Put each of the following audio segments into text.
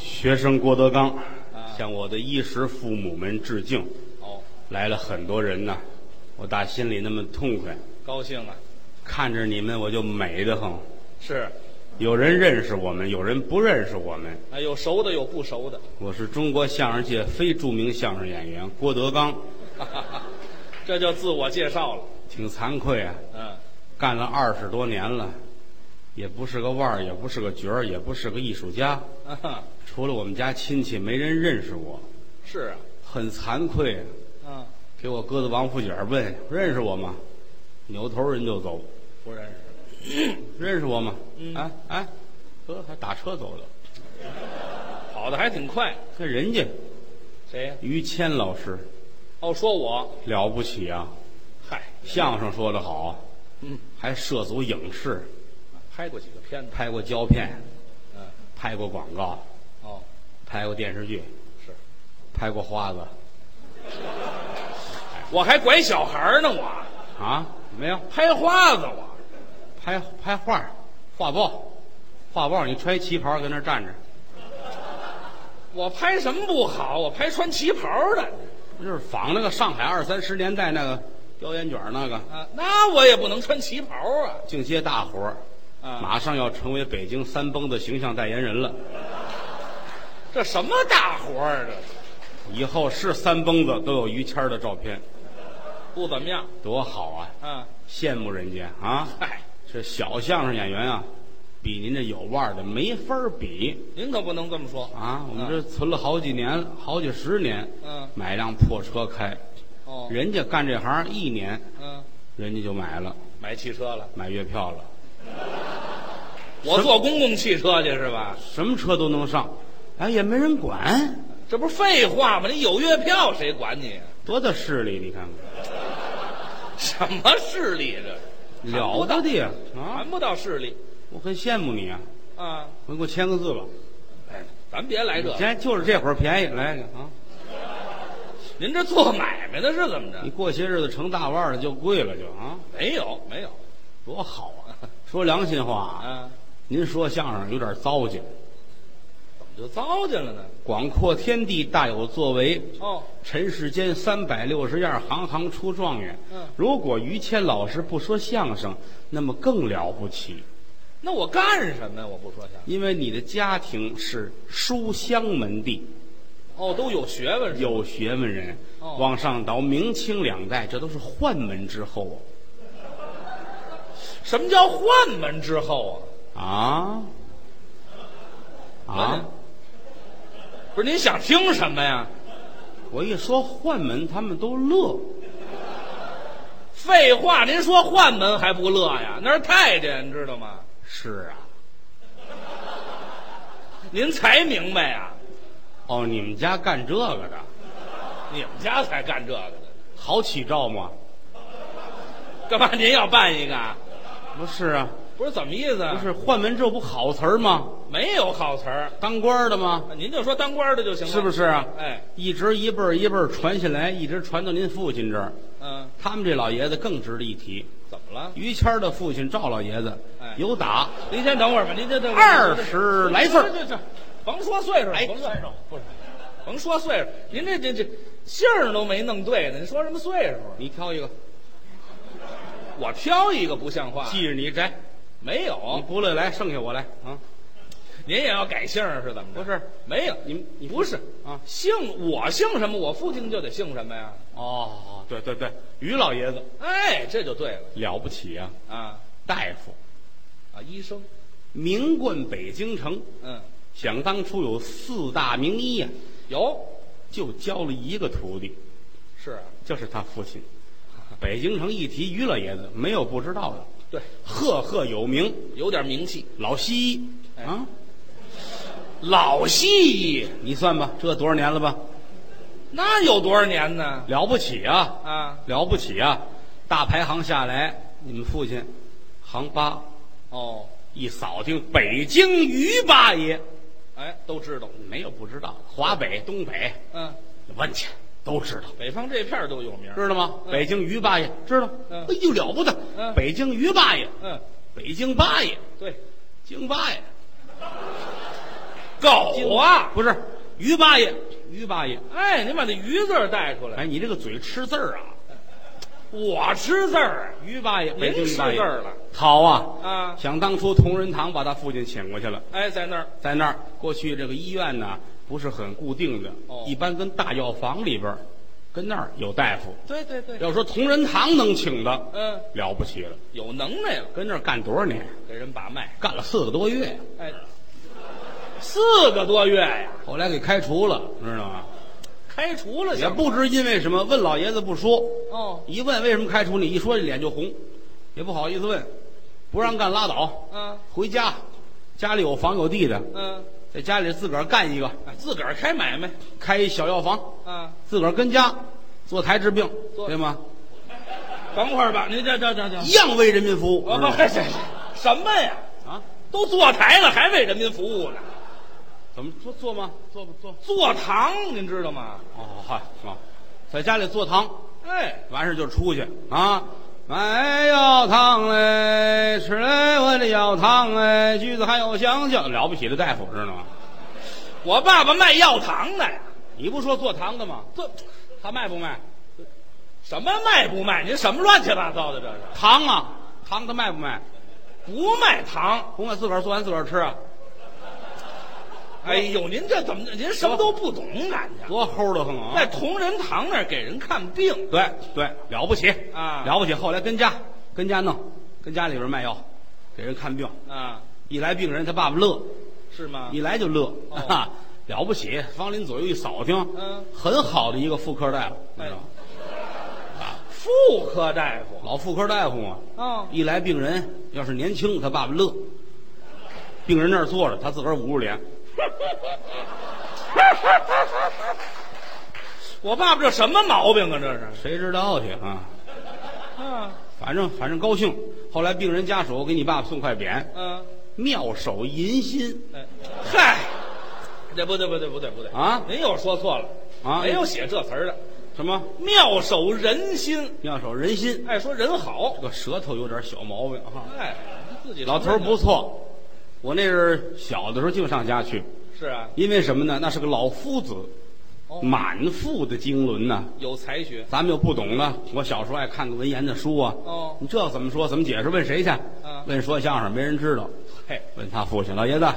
学生郭德纲向我的衣食父母们致敬，哦，来了很多人呐，我打心里那么痛快，高兴啊，看着你们我就美得很。是，有人认识我们，有人不认识我们。啊，有熟的有不熟的， 我是中国相声界非著名相声演员郭德纲，哈哈哈，这就自我介绍了。挺惭愧啊，嗯，干了二十多年了，也不是个腕儿，也不是个角儿，也不是个艺术家，啊哈，除了我们家亲戚，没人认识我，是很惭愧啊。啊，嗯，给我鸽子王府井问认识我吗？扭头人就走，不认识。认识我吗？嗯哎哎，得还打车走了。跑得还挺快。看人家谁呀？于谦老师哦，说我，了不起啊，嗨，相声说得好，嗯，还涉足影视，拍过几个片子。拍过胶片，嗯，拍过广告，哦，拍过电视剧，是，拍过花子我还拐小孩儿呢，我啊？没有，拍花子我。拍拍画，画报，画报，你穿旗袍跟那儿站着，我拍什么不好？我拍穿旗袍的不就是仿那个上海二三十年代那个雕烟卷儿那个？啊，那我也不能穿旗袍啊敬些大伙儿，啊！马上要成为北京三崩的形象代言人了。这什么大活儿啊？这以后是三崩子都有于谦儿的照片，不怎么样多好啊！啊！羡慕人家啊！嗨，这小相声演员啊，比您这有腕儿的没法儿比您可不能这么说啊！我们这存了好几年了，好几十年，嗯买辆破车开，哦，人家干这行一年，嗯，人家就买了，买汽车了，买月票了，我坐公共汽车去是吧？什么车都能上，哎，也没人管，这不是废话吗？你有月票谁管你？多大势力！你看看，什么势力这？了不得呀！啊，谈不到势力我很羡慕你啊！啊！我给我签个字吧。哎，咱别来这个，钱就是这会儿便宜，来个啊！您这做买卖的是怎么你着？过些日子成大腕儿了就贵了就，啊，没有没有多好啊！ 说良心话，啊，您说相声有点糟践，怎么就糟践了呢？广阔天地大有作为，哦，尘世间三百六十样，行行出状元。嗯如果于谦老师不说相声，那么更了不起，那我干什么呀？我不说相声因为你的家庭是书香门第，哦，都有学问是吧？有学问人。哦往上倒明清两代，这都是宦门之后啊。什么叫宦门之后啊？啊啊！不是您想听什么呀？我一说宦门，他们都乐。废话，您说宦门还不乐呀？那是太监，你知道吗？是啊，您才明白呀、哦，你们家干这个的，你们家才干这个的，好起照吗？干嘛您要办一个啊？不是啊，不是怎么意思啊？不是宦门，这不好词儿吗？没有好词儿，啊当官的吗？您就说当官的就行了，是不？是啊？哎，一直一辈儿一辈儿传下来，一直传到您父亲这儿。嗯，他们这老爷子更值得一提。怎么了？于谦儿的父亲赵老爷子哎有打您先等会儿吧，您这这二十来岁儿，这这，甭说岁数了，哎甭说岁数，不是，甭说岁数，您这这这姓儿都没弄对呢，您说什么岁数啊？你挑一个，我挑一个不像话，记着你摘，没你有，不乐意来，剩下我来啊。您也要改姓儿是怎么不着？是，没有，你们你不是啊姓我姓什么，我父亲就得姓什么呀？哦，对对对，于老爷子哎，这就对了了不起啊，啊大夫，啊，医生，名冠北京城。嗯，想当初有四大名医呀、有就教了一个徒弟，是啊，就是他父亲。北京城一提于老爷子，没有不知道的，对，赫赫有名，有点名气，老西医啊，老西医你算吧，这多少年了吧？那有多少年呢？了不起啊，啊，了不起啊！大排行下来，你们父亲行八，哦，一扫听，北京于八爷。哎，都知道，没有不知道的，华北、东北嗯，问去都知道，北方这片儿都有名儿，知道吗？嗯北京于八爷知道，嗯哎呦了不得，嗯北京于八爷，嗯，北京八爷，对，京八爷，狗啊！不是于八爷，于八爷，哎，您把那鱼字儿带出来。哎，你这个嘴吃字儿啊，我吃字儿啊于八爷，您北京于八爷吃字儿了，好啊！啊！想当初同仁堂把他父亲请过去了，哎，在那儿在那儿过去这个医院呢不是很固定的，哦一般跟大药房里边儿，跟那儿有大夫。对对对，要说同仁堂能请的，嗯，了不起了，有能耐了，跟那儿干多少年？给人把脉。干了四个多月，哎，啊四个多月呀，后来给开除了，知道吗？开除了也行吗不知因为什么，问老爷子不说，哦，一问为什么开除你，一说脸就红，也不好意思问，不让干拉倒，啊，回家，家里有房有地的，嗯，在家里自个儿干一个，哎自个儿开买卖开一小药房，啊。自个儿跟家坐台治病，坐对吗？等会儿吧，您这这这这，一样为人民服务，我知道不吗是这什么呀？啊？都坐台了，还为人民服务呢？怎么坐坐吗？坐不坐？坐堂，您知道吗？哦，嗨，啊，在家里坐堂，哎，完事儿就出去啊。买药汤嘞，吃嘞我的药汤嘞，橘子还有香蕉，了不起的大夫知道吗？我爸爸卖药堂的呀，你不说做堂的吗？这他卖不卖？什么卖不卖？您什么乱七八糟的这是？糖啊，糖他卖不卖？不卖糖。不卖自个儿做完自个儿吃啊，哎呦，您这怎么？您什么都不懂，感觉多齁的很在啊！同仁堂那儿给人看病对对，了不起啊了不起！后来跟家跟家弄，跟家里边卖药，给人看病。啊，一来病人，他爸爸乐，是吗一？来就乐，哦哈哈，了不起！方林左右一扫听，嗯哎很好的一个妇科大夫，你知道吗？妇科大夫老妇科大夫嘛，啊，一来病人要是年轻，他爸爸乐。病人那儿坐着，他自个儿捂住脸，我爸爸这什么毛病啊？这是谁知道去啊？啊反正反正高兴。后来病人家属给你爸爸送块匾，嗯，妙手银心哎嗨，这不对不对不对不对啊您又说错了啊没有写这词儿的，什么？妙手仁心，妙手仁心，哎，说人好这，个舌头有点小毛病哈。哎，自己老头儿不错，我那是小的时候净上家去，是啊，因为什么呢？那是个老夫子，哦满腹的经纶呐、有才学咱们又不懂呢，我小时候爱看个文言的书啊。哦你这怎么说？怎么解释？问谁去？嗯问说相声没人知道。嘿，问他父亲老爷子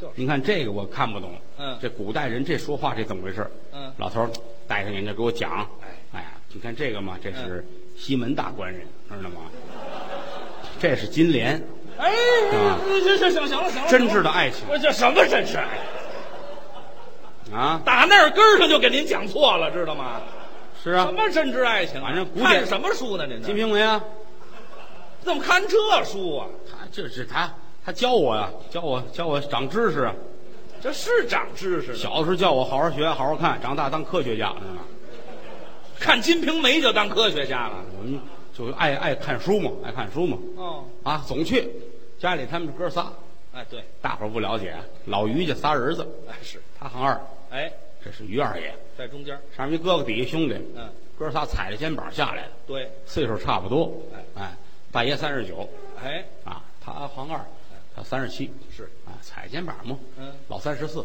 就是，您看这个我看不懂。嗯这古代人这说话这怎么回事？嗯老头儿戴上眼镜给我讲。哎嗯哎呀，你看这个嘛，这是西门大官人，知道吗？这是金莲，哎，行行行行了行了，啊真挚的爱情我这什么真是？啊！打那儿根儿上就给您讲错了，知道吗？是什啊，么真挚爱情啊？反正古典看什么书呢？您金这瓶梅啊，怎么看这书啊？他这是他他教我呀、啊教我教我长知识啊。这是长知识的，小的时候叫我好好学，好好看，长大当科学家，知道吗？看《金瓶梅》就当科学家了。我们就爱爱看书嘛，爱看书嘛，哦，啊，总去。家里他们哥仨，哎对，大伙儿不了解，啊老于家仨儿子，哎是，他行二，哎，这是于二爷，在中间，上面一哥哥，底下兄弟，嗯，哥仨踩着肩膀下来的，对，岁数差不多，哎，大爷三十九，哎啊，他行二，他三十七，嗯是，啊，踩肩膀嘛，嗯，老三十四，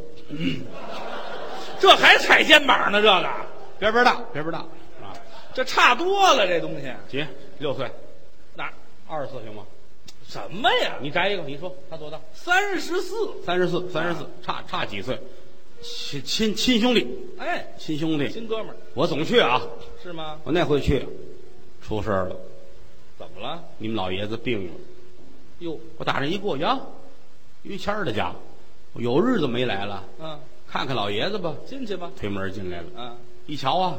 这还踩肩膀呢，这个边边大，边边大，啊，这差多了，这东西姐六岁，哪二十四行吗？什么呀？你摘一个，你说他多大？三十四，三十四，三十四，差差几岁？亲亲亲兄弟，哎，亲兄弟，新哥们儿我总去啊。是吗？我那回去，出事儿了，怎么了？你们老爷子病了。哟，我打这一过呀，于谦儿的家，我有日子没来了，嗯，看看老爷子吧。进去吧，推门进来了，啊，一瞧啊，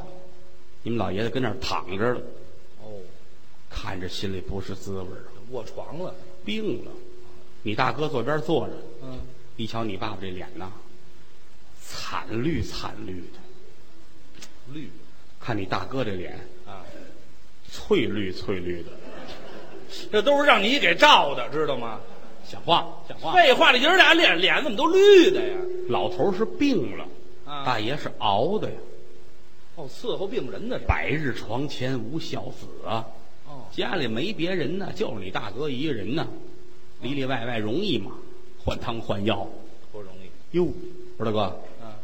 你们老爷子跟那儿躺着了，哦，看着心里不是滋味儿啊，卧床了，病了。你大哥坐边坐着，嗯，一瞧你爸爸这脸呐，惨绿惨绿的。绿看你大哥这脸，啊，翠绿翠绿的，这都是让你给照的，知道吗？像话像话。废话，这爷儿俩脸脸怎么都绿的呀？老头是病了，啊大爷是熬的呀。哦，伺候病人的是吧？百日床前无孝子啊，哦，家里没别人呢，就是你大哥一个人呢，里里外外容易吗？换汤换药，不容易。哟，我说大哥，啊，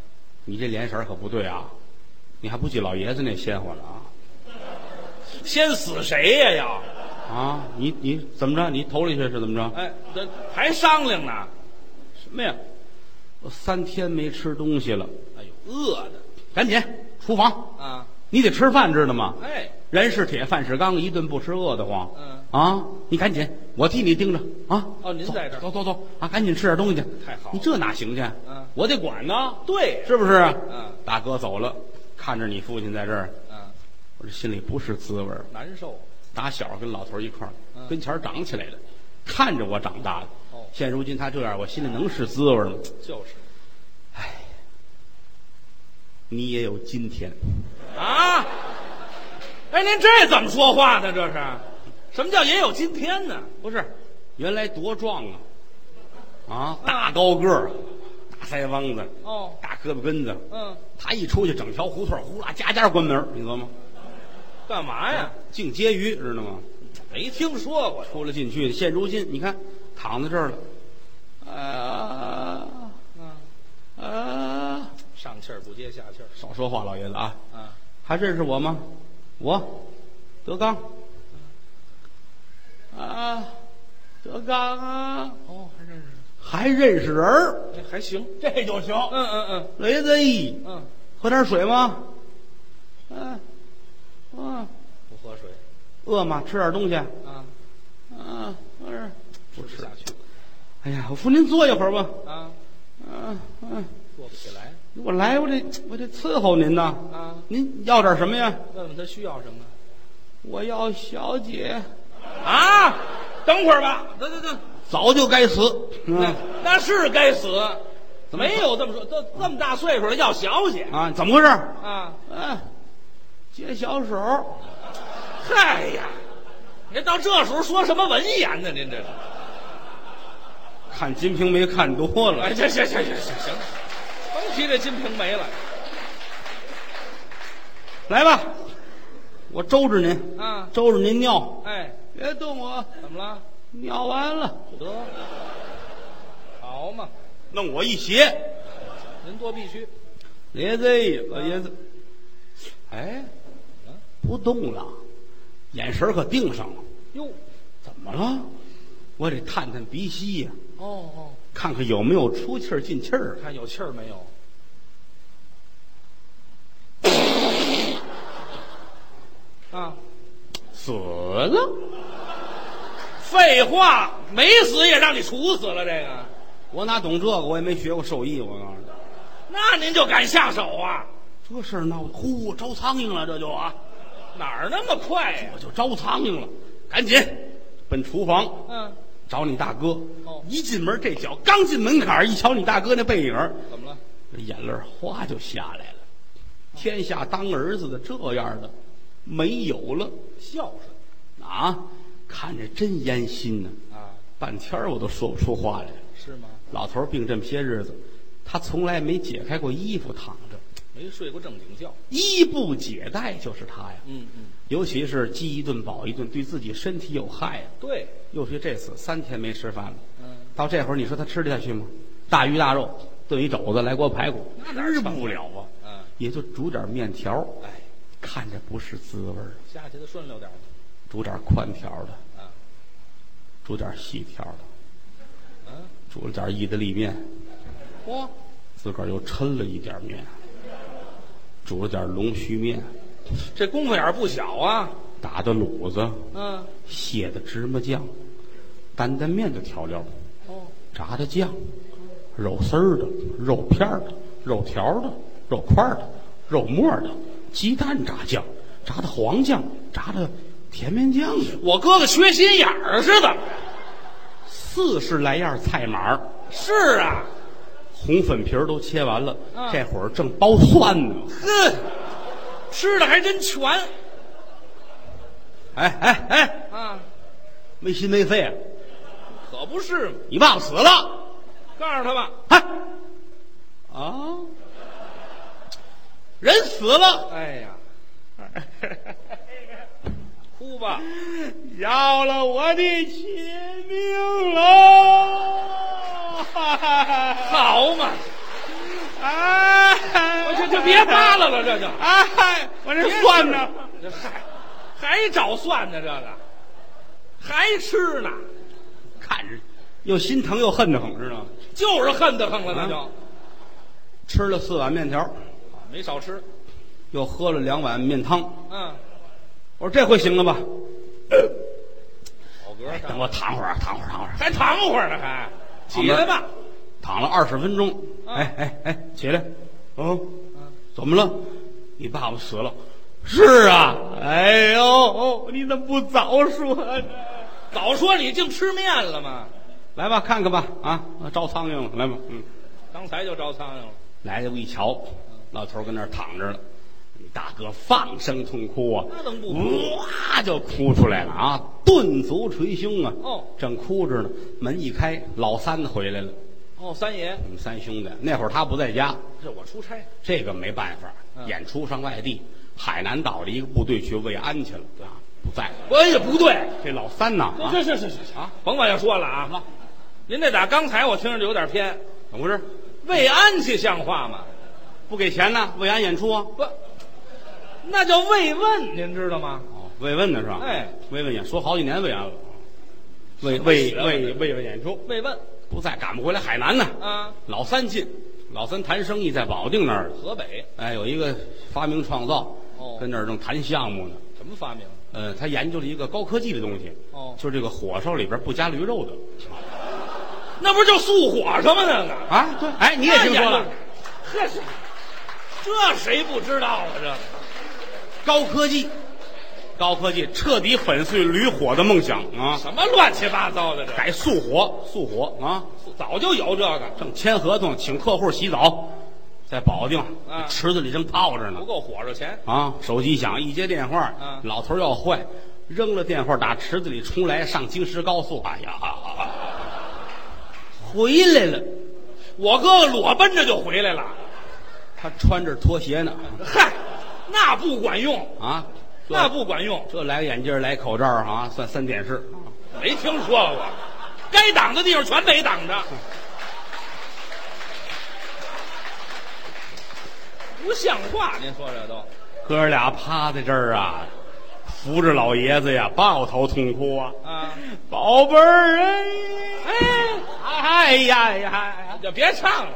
你这脸色儿可不对啊，你还不及老爷子那鲜活呢啊！先死谁呀、要？啊，你你怎么着？你头里去是怎么着？哎，这还商量呢？什么呀？我三天没吃东西了，哎呦，饿的赶紧厨房，啊！你得吃饭，知道吗？哎，人是铁，饭是钢，一顿不吃饿得慌。嗯啊，你赶紧，我替你盯着啊。哦您走在这儿走走走啊，赶紧吃点东西去。太好了你这哪行去？啊嗯我得管呢，对，是不是？嗯大哥走了，看着你父亲在这儿，啊，我这心里不是滋味儿。难受。打小跟老头儿一块儿，嗯跟前儿长起来的，看着我长大的。哦现如今他这样，我心里能是滋味儿吗？就是你也有今天，啊，哎，您这怎么说话呢？这是什么叫也有今天呢？不是？原来多壮啊，啊，大高个儿，大腮帮子，哦，大胳膊根子，嗯，他一出去，整条胡同呼啦家家关门，你知道吗？干嘛呀？净街鱼，知道吗？没听说过。出来进去，现如今你看躺在这儿了，啊嗯，啊！上气儿不接下气儿少说话，老爷子啊，啊，还认识我吗？我，德刚，啊，德刚啊，哦，还认识，还认识人儿，哎，还行。这就行。嗯嗯老爷子，咦嗯嗯，喝点水吗？嗯、啊，不喝水饿吗？吃点东西。啊，啊，不是，吃不下去哎呀，我扶您坐一会儿吧。啊，嗯、嗯、坐不起来我来，我得我得伺候您呐。啊。您要点什么呀？问问他需要什么我要小姐，啊？等会儿吧，等等等，早就该死。那嗯那是该死，怎么没有这么说，都这么大岁数了要小姐啊，怎么回事？啊？啊，接小手。嗨呀，您到这时候说什么文言呢？您这是？看《金瓶梅》看多 哎，了，行行行行行行，甭提这《金瓶梅》了来吧，我收拾您，啊！收拾您尿，哎，别动我，怎么了？尿完了得，好嘛，弄我一鞋。您多必须。老爷子，老爷子，哎，不动了，眼神可定上了。哟，怎么了？我得探探鼻息呀、哦哦，看看有没有出气儿进气儿。啊看有气儿没有？啊，死了！废话，没死也让你处死了，这个，我哪懂这个？我也没学过兽医。我告诉那您就敢下手啊？你，这事儿闹的，呼，招苍蝇了，这就啊，哪儿那么快呀、我就招苍蝇了，赶紧奔厨房嗯，找你大哥。哦一进门，这脚刚进门槛儿，一瞧你大哥那背影儿，怎么了？这眼泪儿哗就下来了。天下当儿子的这样的没有了孝顺啊！看着真烟心呢、啊，半天儿我都说不出话来。是吗？老头儿病这么些日子，他从来没解开过衣服躺着，没睡过正经觉。衣不解带就是他呀。嗯嗯，尤其是饥一顿饱一顿，对自己身体有害呀。对，尤其这次三天没吃饭了，嗯，到这会儿你说他吃得下去吗？大鱼大肉炖一肘子，来锅排骨，那哪儿吃成啊不了啊。嗯，也就煮点面条，哎，看着不是滋味儿。下去的顺溜点儿吧煮点宽条的，啊，煮点细条的，嗯，煮了点意大利面，嚯，自个儿又抻了一点面，煮了点龙须面，这功夫眼儿不小啊。打的卤子，嗯，蟹的芝麻酱，担担面的调料，哦，炸的酱，肉丝儿的，肉片儿的，肉条儿的，肉块儿的，肉末儿的，鸡蛋炸酱，炸的黄酱，炸的甜面酱的，我哥哥缺心眼儿是怎么着？四十来样菜码儿是啊，红粉皮儿都切完了，嗯这会儿正剥蒜呢。哼，吃的还真全哎哎哎，啊，没心没肺啊，可不是嘛。你忘死了？告诉他吧，哎，啊，人死了，哎 呀，哭 吧，要了我的亲命喽！好嘛，哎，我就就别扒拉了这就哎，哎我这蒜呢别吃了？这嗨，还找蒜呢？这个还吃呢？看着又心疼又恨得很，知道吗？就是恨得很了，那就、啊吃了四碗面条，没少吃。又喝了两碗面汤。嗯，我说这回行了吧？好格儿等上我躺会儿啊，躺会儿，躺会儿，还躺会儿呢，还起来吧。躺了二十分钟。啊哎哎哎，起来！哦啊，怎么了？你爸爸死了？是啊。哎呦，哦你怎么不早说呢？早说你净吃面了嘛，来吧，看看吧，啊，招苍蝇了，来吧，嗯，刚才就招苍蝇了。来了，我一瞧，老头儿跟那儿躺着了。你大哥放声痛哭啊！那怎么不哭哇就哭出来了啊！顿足捶胸啊！哦正哭着呢，门一开，老三回来了。哦，三爷，我们三兄弟那会儿他不在家，这我出差，这个没办法，嗯演出上外地，海南岛的一个部队去慰安去了啊，不在。哎呀，不对，这老三呐，啊这这这这这啊，甭往下说了啊！您这打刚才我听着有点偏，怎么回事？慰安去像话吗？不给钱呢？慰安演出啊？不，那叫慰问，您知道吗？哦，慰问呢是吧？哎，慰问演说好几年慰安了，慰慰慰慰问演出慰问不在，赶不回来海南呢。啊，老三进，老三谈生意在保定那儿，河北哎，有一个发明创造，哦跟那儿正谈项目呢。什么发明？呃，他研究了一个高科技的东西，哦就是这个火烧里边不加驴肉的。那不就素火烧吗？那个啊，对，哎，你也听说了，，这是这谁不知道啊？这个高科技，高科技彻底粉碎驴火的梦想啊！什么乱七八糟的这？改速火，速火啊！早就有这个，正签合同，请客户洗澡，在保定啊池子里正泡着呢不。够火烧钱。啊，手机响，一接电话，嗯老头儿要坏，扔了电话，打池子里冲来，上京石高速，哎呀，回来了，我哥哥裸奔着就回来了，他穿着拖鞋呢，嗨，那不管用，啊，这那不管用，这来个眼镜儿，来口罩儿啊，算三点式。没听说过，该挡的地方全得挡着，不像话，您说这都哥俩趴在这儿啊，扶着老爷子呀，抱头痛哭啊，啊，宝贝儿哎，哎，哎呀呀呀，就别唱了，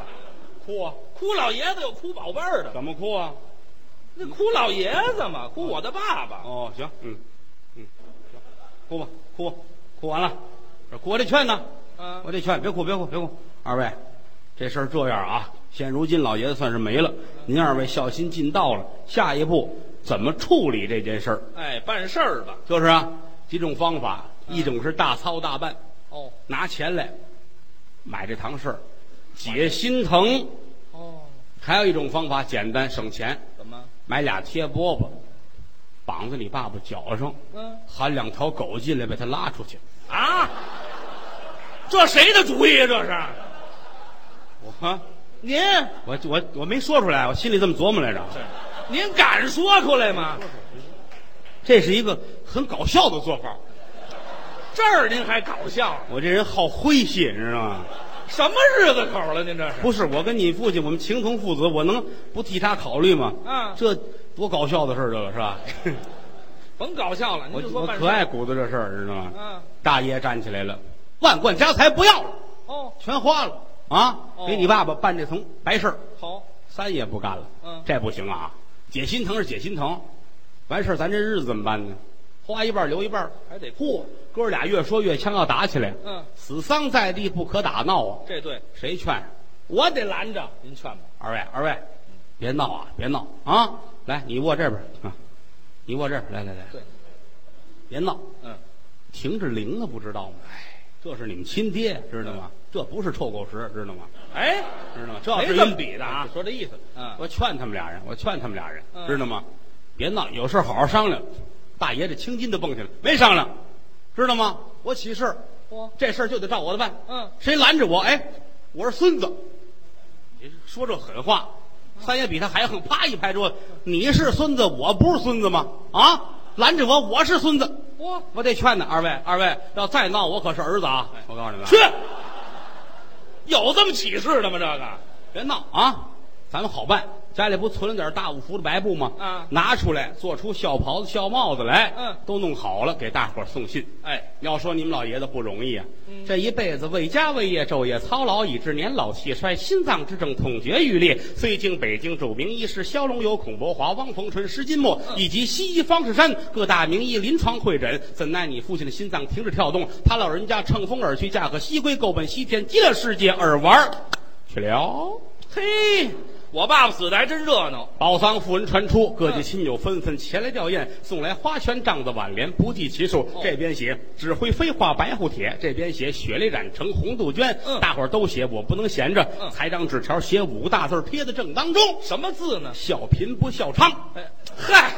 哭啊，哭老爷子有哭宝贝儿的，怎么哭啊？那哭老爷子嘛，哭我的爸爸，哦，行，嗯，嗯，行哭吧，哭吧，哭完了，这哭我这劝呢，啊我这劝，别哭，别哭，别哭。二位，这事儿这样啊，现如今老爷子算是没了，您二位孝心尽到了，下一步怎么处理这件事儿？哎，办事儿吧，就是啊，几种方法，一种是大操大办，哦拿钱来买这堂事儿，解心疼；哦，还有一种方法简单省钱，怎么，买俩贴饽饽，绑在你爸爸脚上，嗯喊两条狗进来把他拉出去。啊，这谁的主意啊？这是我啊您。我我我没说出来，我心里这么琢磨来着。您敢说出来吗？这是一个很搞笑的做法。这儿您还搞笑？我这人好诙谐，你知道吗？什么日子口了？您这是？不是，我跟你父亲我们情同父子，我能不替他考虑吗？嗯这多搞笑的事儿，这个是 吧？甭搞笑了，您我就我说办事可爱鼓捣这事儿，知道吗？嗯，大爷站起来了，万贯家财不要了，哦，全花了啊！哦给你爸爸办这层白事儿，好，三爷不干了，嗯这不行啊！解心疼是解心疼，完事儿咱这日子怎么办呢？花一半儿留一半儿，还得嚯，哥俩越说越呛，要打起来。嗯，死丧在地不可打闹啊！这对，谁劝？啊我得拦着。您劝吧。二位，二位，别闹啊，别闹啊！来，你握这边啊，你握这边，来来来，对，别闹，嗯，停着铃啊了，不知道吗？哎，这是你们亲爹，知道吗？这不是臭狗食，知道吗？哎，知道吗？这没是这么一比的啊就说这意思。嗯我劝他们俩人，我劝他们俩人，嗯知道吗？别闹，有事好好商量。大爷这青筋都蹦起来，没商量，知道吗？我起事儿我这事儿就得照我的办。嗯谁拦着我？哎，我是孙子。你说这狠话，嗯三爷比他还横，啪一拍桌子：“你是孙子，我不是孙子吗？啊，拦着我，我是孙子，我我得劝他。二位，二位要再闹，我可是儿子啊！哎我告诉你们啊，去，有这么起事的吗？这个别闹啊！咱们好办，家里不存了点大五福的白布吗？啊拿出来做出孝袍子、孝帽子来，嗯都弄好了，给大伙儿送信。哎，要说你们老爷子不容易啊，这一辈子为家为业昼夜操劳，以致年老气衰、心脏之症痛绝欲裂。虽经北京著名医师肖龙友、孔伯华、汪逢春、施金墨以及西医方世山各大名医临床会诊，怎奈你父亲的心脏停止跳动，他老人家乘风而去，驾鹤西归，够奔西天极乐世界而玩儿去了。嘿，我爸爸死的还真热闹。宝丧讣文传嗯出，各地亲友纷纷前来吊唁，送来花圈、帐子、挽联，不计其数。哦这边写“指挥飞画白虎帖”，这边写“血泪染成红杜鹃”嗯大伙儿都写，我不能闲着，嗯裁张纸条写五个大字儿贴在正当中：什么字呢？笑贫不笑娼。哎，嗨，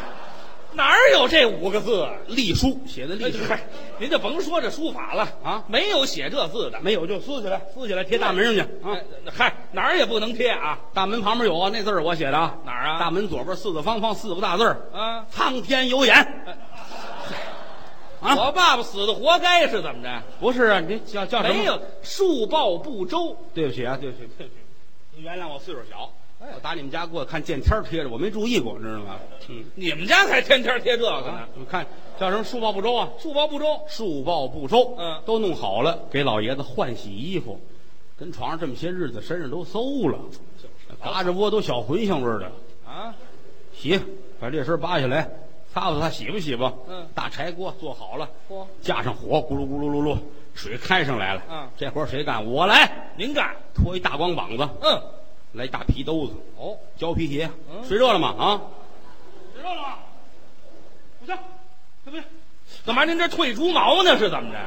哪儿有这五个字啊？隶书写的隶书，嗨，您就甭说这书法了啊没有写这字的。没有就撕起来，撕起来贴大门上去啊哎！嗨，哪儿也不能贴啊大门旁边有啊，那字儿是我写的啊。哪儿啊大门左边四四方方四个大字儿啊！苍天有眼。哎啊，我爸爸死的活该是怎么着？不是啊，你这叫叫什么？没有树报不周，对不起啊，对不起，对不起，您原谅我岁数小，我打你们家给我看见天儿贴着，我没注意过，你知道吗？嗯，你们家才天天贴这个啊呢。，你看叫什么树报不周啊？树报不周，树报不周，嗯都弄好了，给老爷子换洗衣服，跟床上这么些日子，身上都馊了，嘎着窝都小茴香味儿的，啊，洗，把这身扒下来，擦吧擦，洗吧洗吧，嗯大柴锅做好了，嚯，架上火，咕噜咕噜噜噜，水开上来了，嗯这活儿谁干？我来，您干？拖一大光膀子，嗯，来一大皮兜子。哦，胶皮鞋，嗯水热了吗？啊，知道了吗？不行，对不对？干嘛您这退猪毛呢？是怎么着？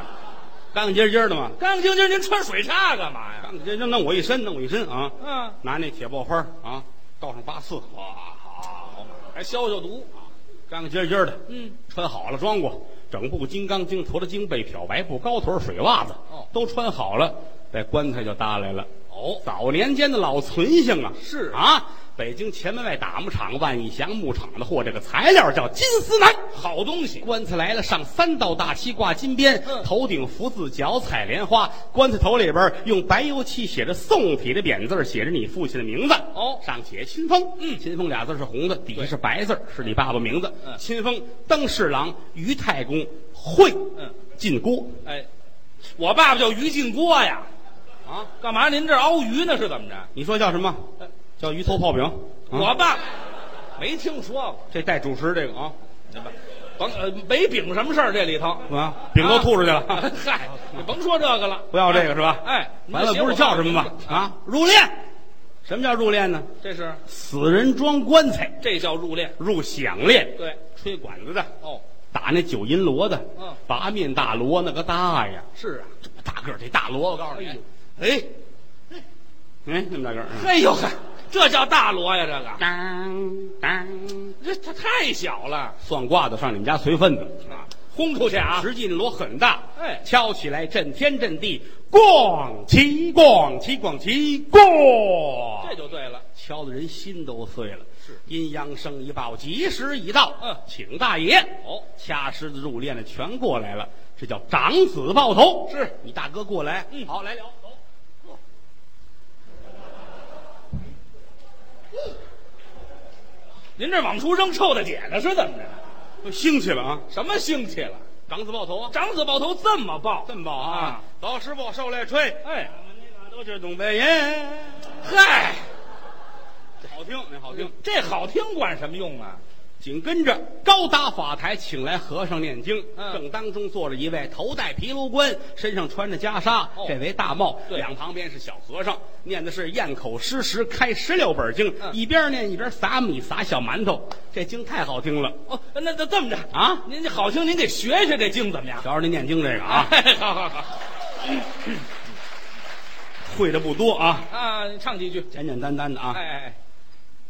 干干净净的嘛，干干净净，您穿水叉干嘛呀？干干净净弄我一身，弄我一身啊！嗯，拿那铁爆花儿啊，倒上八四，哇，好还消消毒。干干净净的，嗯，穿好了装过，整部金刚经、驼着经被、漂白布、高腿、水袜子，哦都穿好了，在棺材就搭来了。哦，早年间的老存性啊，是啊，北京前门外打木厂、万义祥木厂的货，这个材料叫金丝楠。好东西。棺材来了，上三道大漆挂金边，嗯头顶福字，脚踩莲花。棺材头里边用白油漆写着宋体的扁字儿，写着你父亲的名字。哦上写亲封，嗯亲封俩字是红的，底下对是白字儿，是你爸爸名字。嗯亲封登侍郎于太公会，嗯，进锅哎，我爸爸叫于进锅呀。啊！干嘛？您这熬鱼呢？是怎么着？你说叫什么？叫鱼头泡饼。啊呃我爸没听说过。这带主食这个啊甭呃没饼什么事儿，这里头啊，饼都吐出去了，啊嗨，你甭说这个了， 不要这个是吧？哎，你完了写不是我叫爸什么吧？爸啊，入殓。什么叫入殓呢？这是死人装棺材，这叫入殓。入响列，对，吹管子的，哦，打那九阴锣的，嗯八面大锣那个大呀，是啊，这么大个儿这大锣，我告诉你，哎哎，那么大个儿，嗯哎呦呵，这叫大锣呀，这当当，个这它太小了算卦的上你们家随份子，啊，轰出去啊！实际那锣很大，哎敲起来震天震地，咣齐咣齐咣齐咣，这就对了，敲的人心都碎了。是阴阳生一报，吉时已到。嗯请大爷。哦，掐狮子入殓的全过来了，这叫长子抱头。是你大哥过来。嗯好，来了，走。您这往出扔臭大姐呢，是怎么着？都兴起了啊！什么兴起了？长子抱头啊，长子抱头这么抱，这么抱啊啊！老师傅受累吹，哎我们那哪都是东北人，嗨，好听，那好听。这好听管什么用啊？紧跟着高搭法台，请来和尚念经。嗯正当中坐着一位头戴毗卢冠，身上穿着袈裟，哦这为大帽。对两旁边是小和尚，念的是咽口失食，开十六本经，嗯一边念一边撒米撒小馒头。这经太好听了哦，那那这么着啊，啊！您好听，您给学学这经怎么样？瞧着您念经这个 啊，哎，好好好会的不多啊，啊，你唱几句。简简单单的啊。哎哎哎，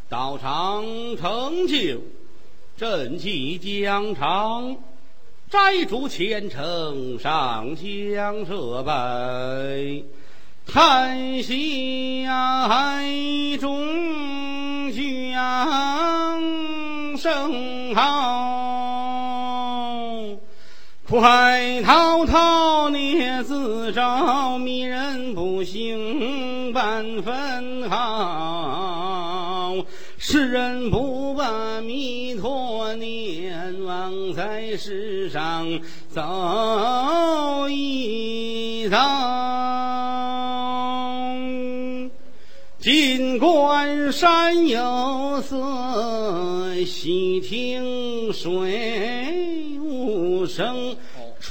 道长成就，振气疆场，摘竹千层上香设拜，叹息中响声号。快逃逃，孽自招，迷人不醒半分好。世人不把弥陀念，枉在世上走一遭。锦官山有色，细听水无声。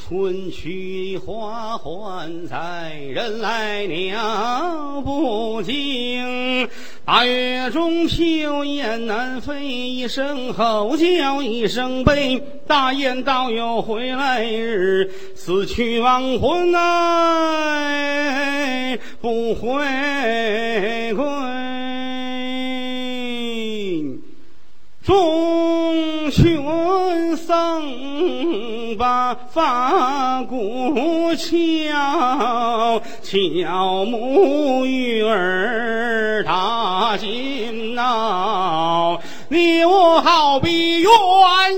春去花还在，人来鸟不惊。八月中秋雁南飞，一声吼叫一声悲。大雁道有回来日，死去亡魂哎，不回归。中旬僧把法鼓敲，敲木鱼儿打金闹，你我好比鸳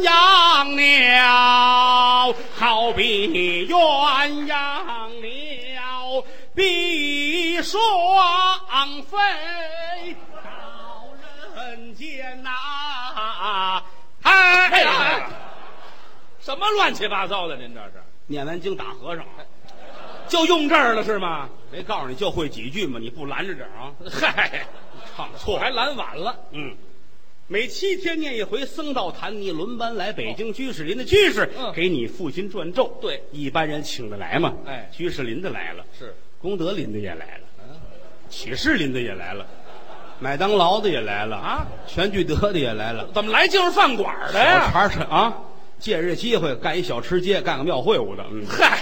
鸯鸟，好比鸳鸯鸟，比双飞到人间呐、哎哎呀呀，什么乱七八糟的？您这是念完经打和尚，就用这儿了是吗？没告诉你就会几句吗？你不拦着点儿 啊？嗨，唱我错还拦晚了。嗯，每七天念一回僧道坛尼，轮班来北京居士林的居士，嗯给你父亲转咒。对一般人请得来吗？哎居士林的来了，是，功德林的也来了，启士林的也来了，麦当劳的也来了啊，全聚德的也来了，怎么来就是饭馆的小呀？茶是啊，借着这机会干一小吃街，干个庙会舞的。嗯，嗨，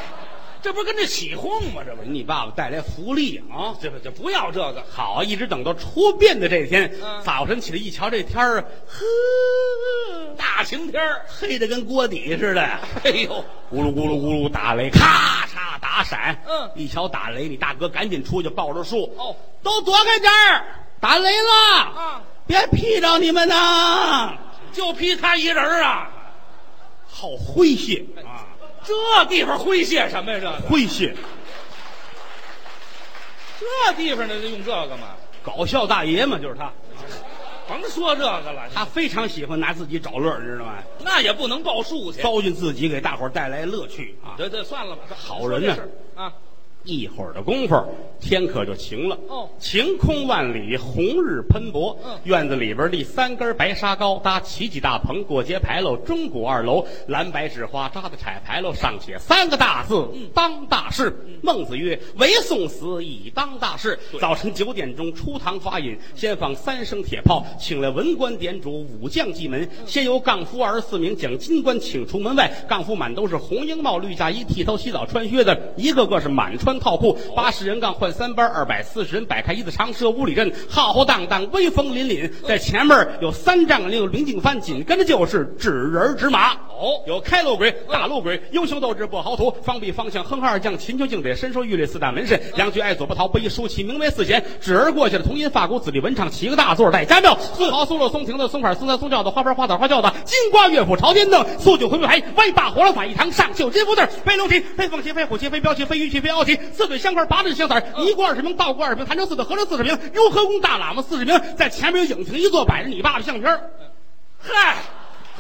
这不是跟这起哄吗？这不是，你爸爸带来福利啊。这不就不要这个。好，啊一直等到初变的这天，嗯早晨起来一瞧这天儿，呵，大晴天儿，黑的跟锅底似的，哎呦，咕噜咕噜咕噜打雷，咔嚓打闪。嗯一瞧打雷，你大哥赶紧出去抱着树，哦，都躲开点儿，打雷了，啊，别劈着你们呐！就批他一人儿啊，好诙谐哎啊，这地方诙谐什么呀？这个诙谐，这地方呢，就用这个嘛，搞笑大爷嘛，就是他，甭说这个了，他非常喜欢拿自己找乐儿，你知道吗？那也不能报数去。糟践自己，给大伙儿带来乐趣啊！这这算了吧，好人呢说这事儿啊，一会儿的功夫，天可就晴了。哦晴空万里，红日喷薄。嗯院子里边立三根白沙高，搭起几大棚，过街牌楼，钟鼓二楼，蓝白纸花扎的彩牌楼，上写三个大字：嗯当大事。孟子曰：“唯送死以当大事。”早晨九点钟出堂发引，先放三声铁炮，请来文官点主、武将进门，嗯先由杠夫二十四名将金官请出门外。杠夫满都是红缨帽、绿嫁衣、剃头、洗澡、穿靴子，一个个是满穿套裤。八十人杠换三班，二百四十人摆开一字长蛇五里阵，浩浩荡荡，威风凛凛。在前面有三丈六林静帆，紧跟着就是纸人纸马。哦有开路鬼、大路鬼，英雄斗志不豪图，方必方向，哼哈二将，秦琼敬北，身收玉立四大门神，梁举爱左不逃，不亦舒淇，名为四贤。指而过去的铜音发鼓，子弟文唱，七个大座带家庙，松毫松肉松亭子松款松三松轿子花瓣花枣花轿子，金瓜乐府朝天凳，素酒回不牌，歪把活了法一堂，上绣金福字，飞龙旗，飞凤旗，飞虎旗，飞镖旗，飞鱼旗，飞鳌旗，四对香块，八对香色，一锅二十瓶，倒锅二十瓶，坛城四对，合成四十瓶，雍和宫大喇嘛四十名，在前面有影厅一座，摆着你爸爸相片儿嗨，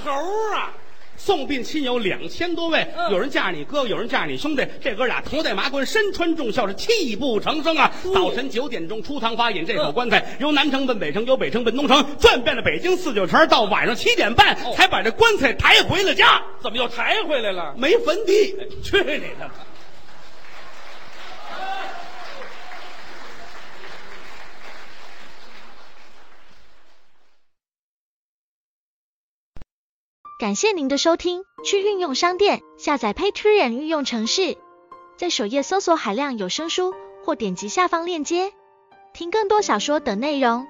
猴儿啊，送殡亲友两千多位，嗯有人嫁着你哥哥，有人嫁着你兄弟，这哥俩头戴麻冠，身穿重孝，是泣不成声啊！哦早晨九点钟出堂发引，这口嗯棺材由南城奔北城，由北城奔东城，转遍了北京四九城，到晚上七点半哦才把这棺材抬回了家，怎么又抬回来了？没坟地。去你的吧！感谢您的收听，去运用商店下载 Patreon 运用城市，在首页搜索海量有声书，或点击下方链接听更多小说等内容。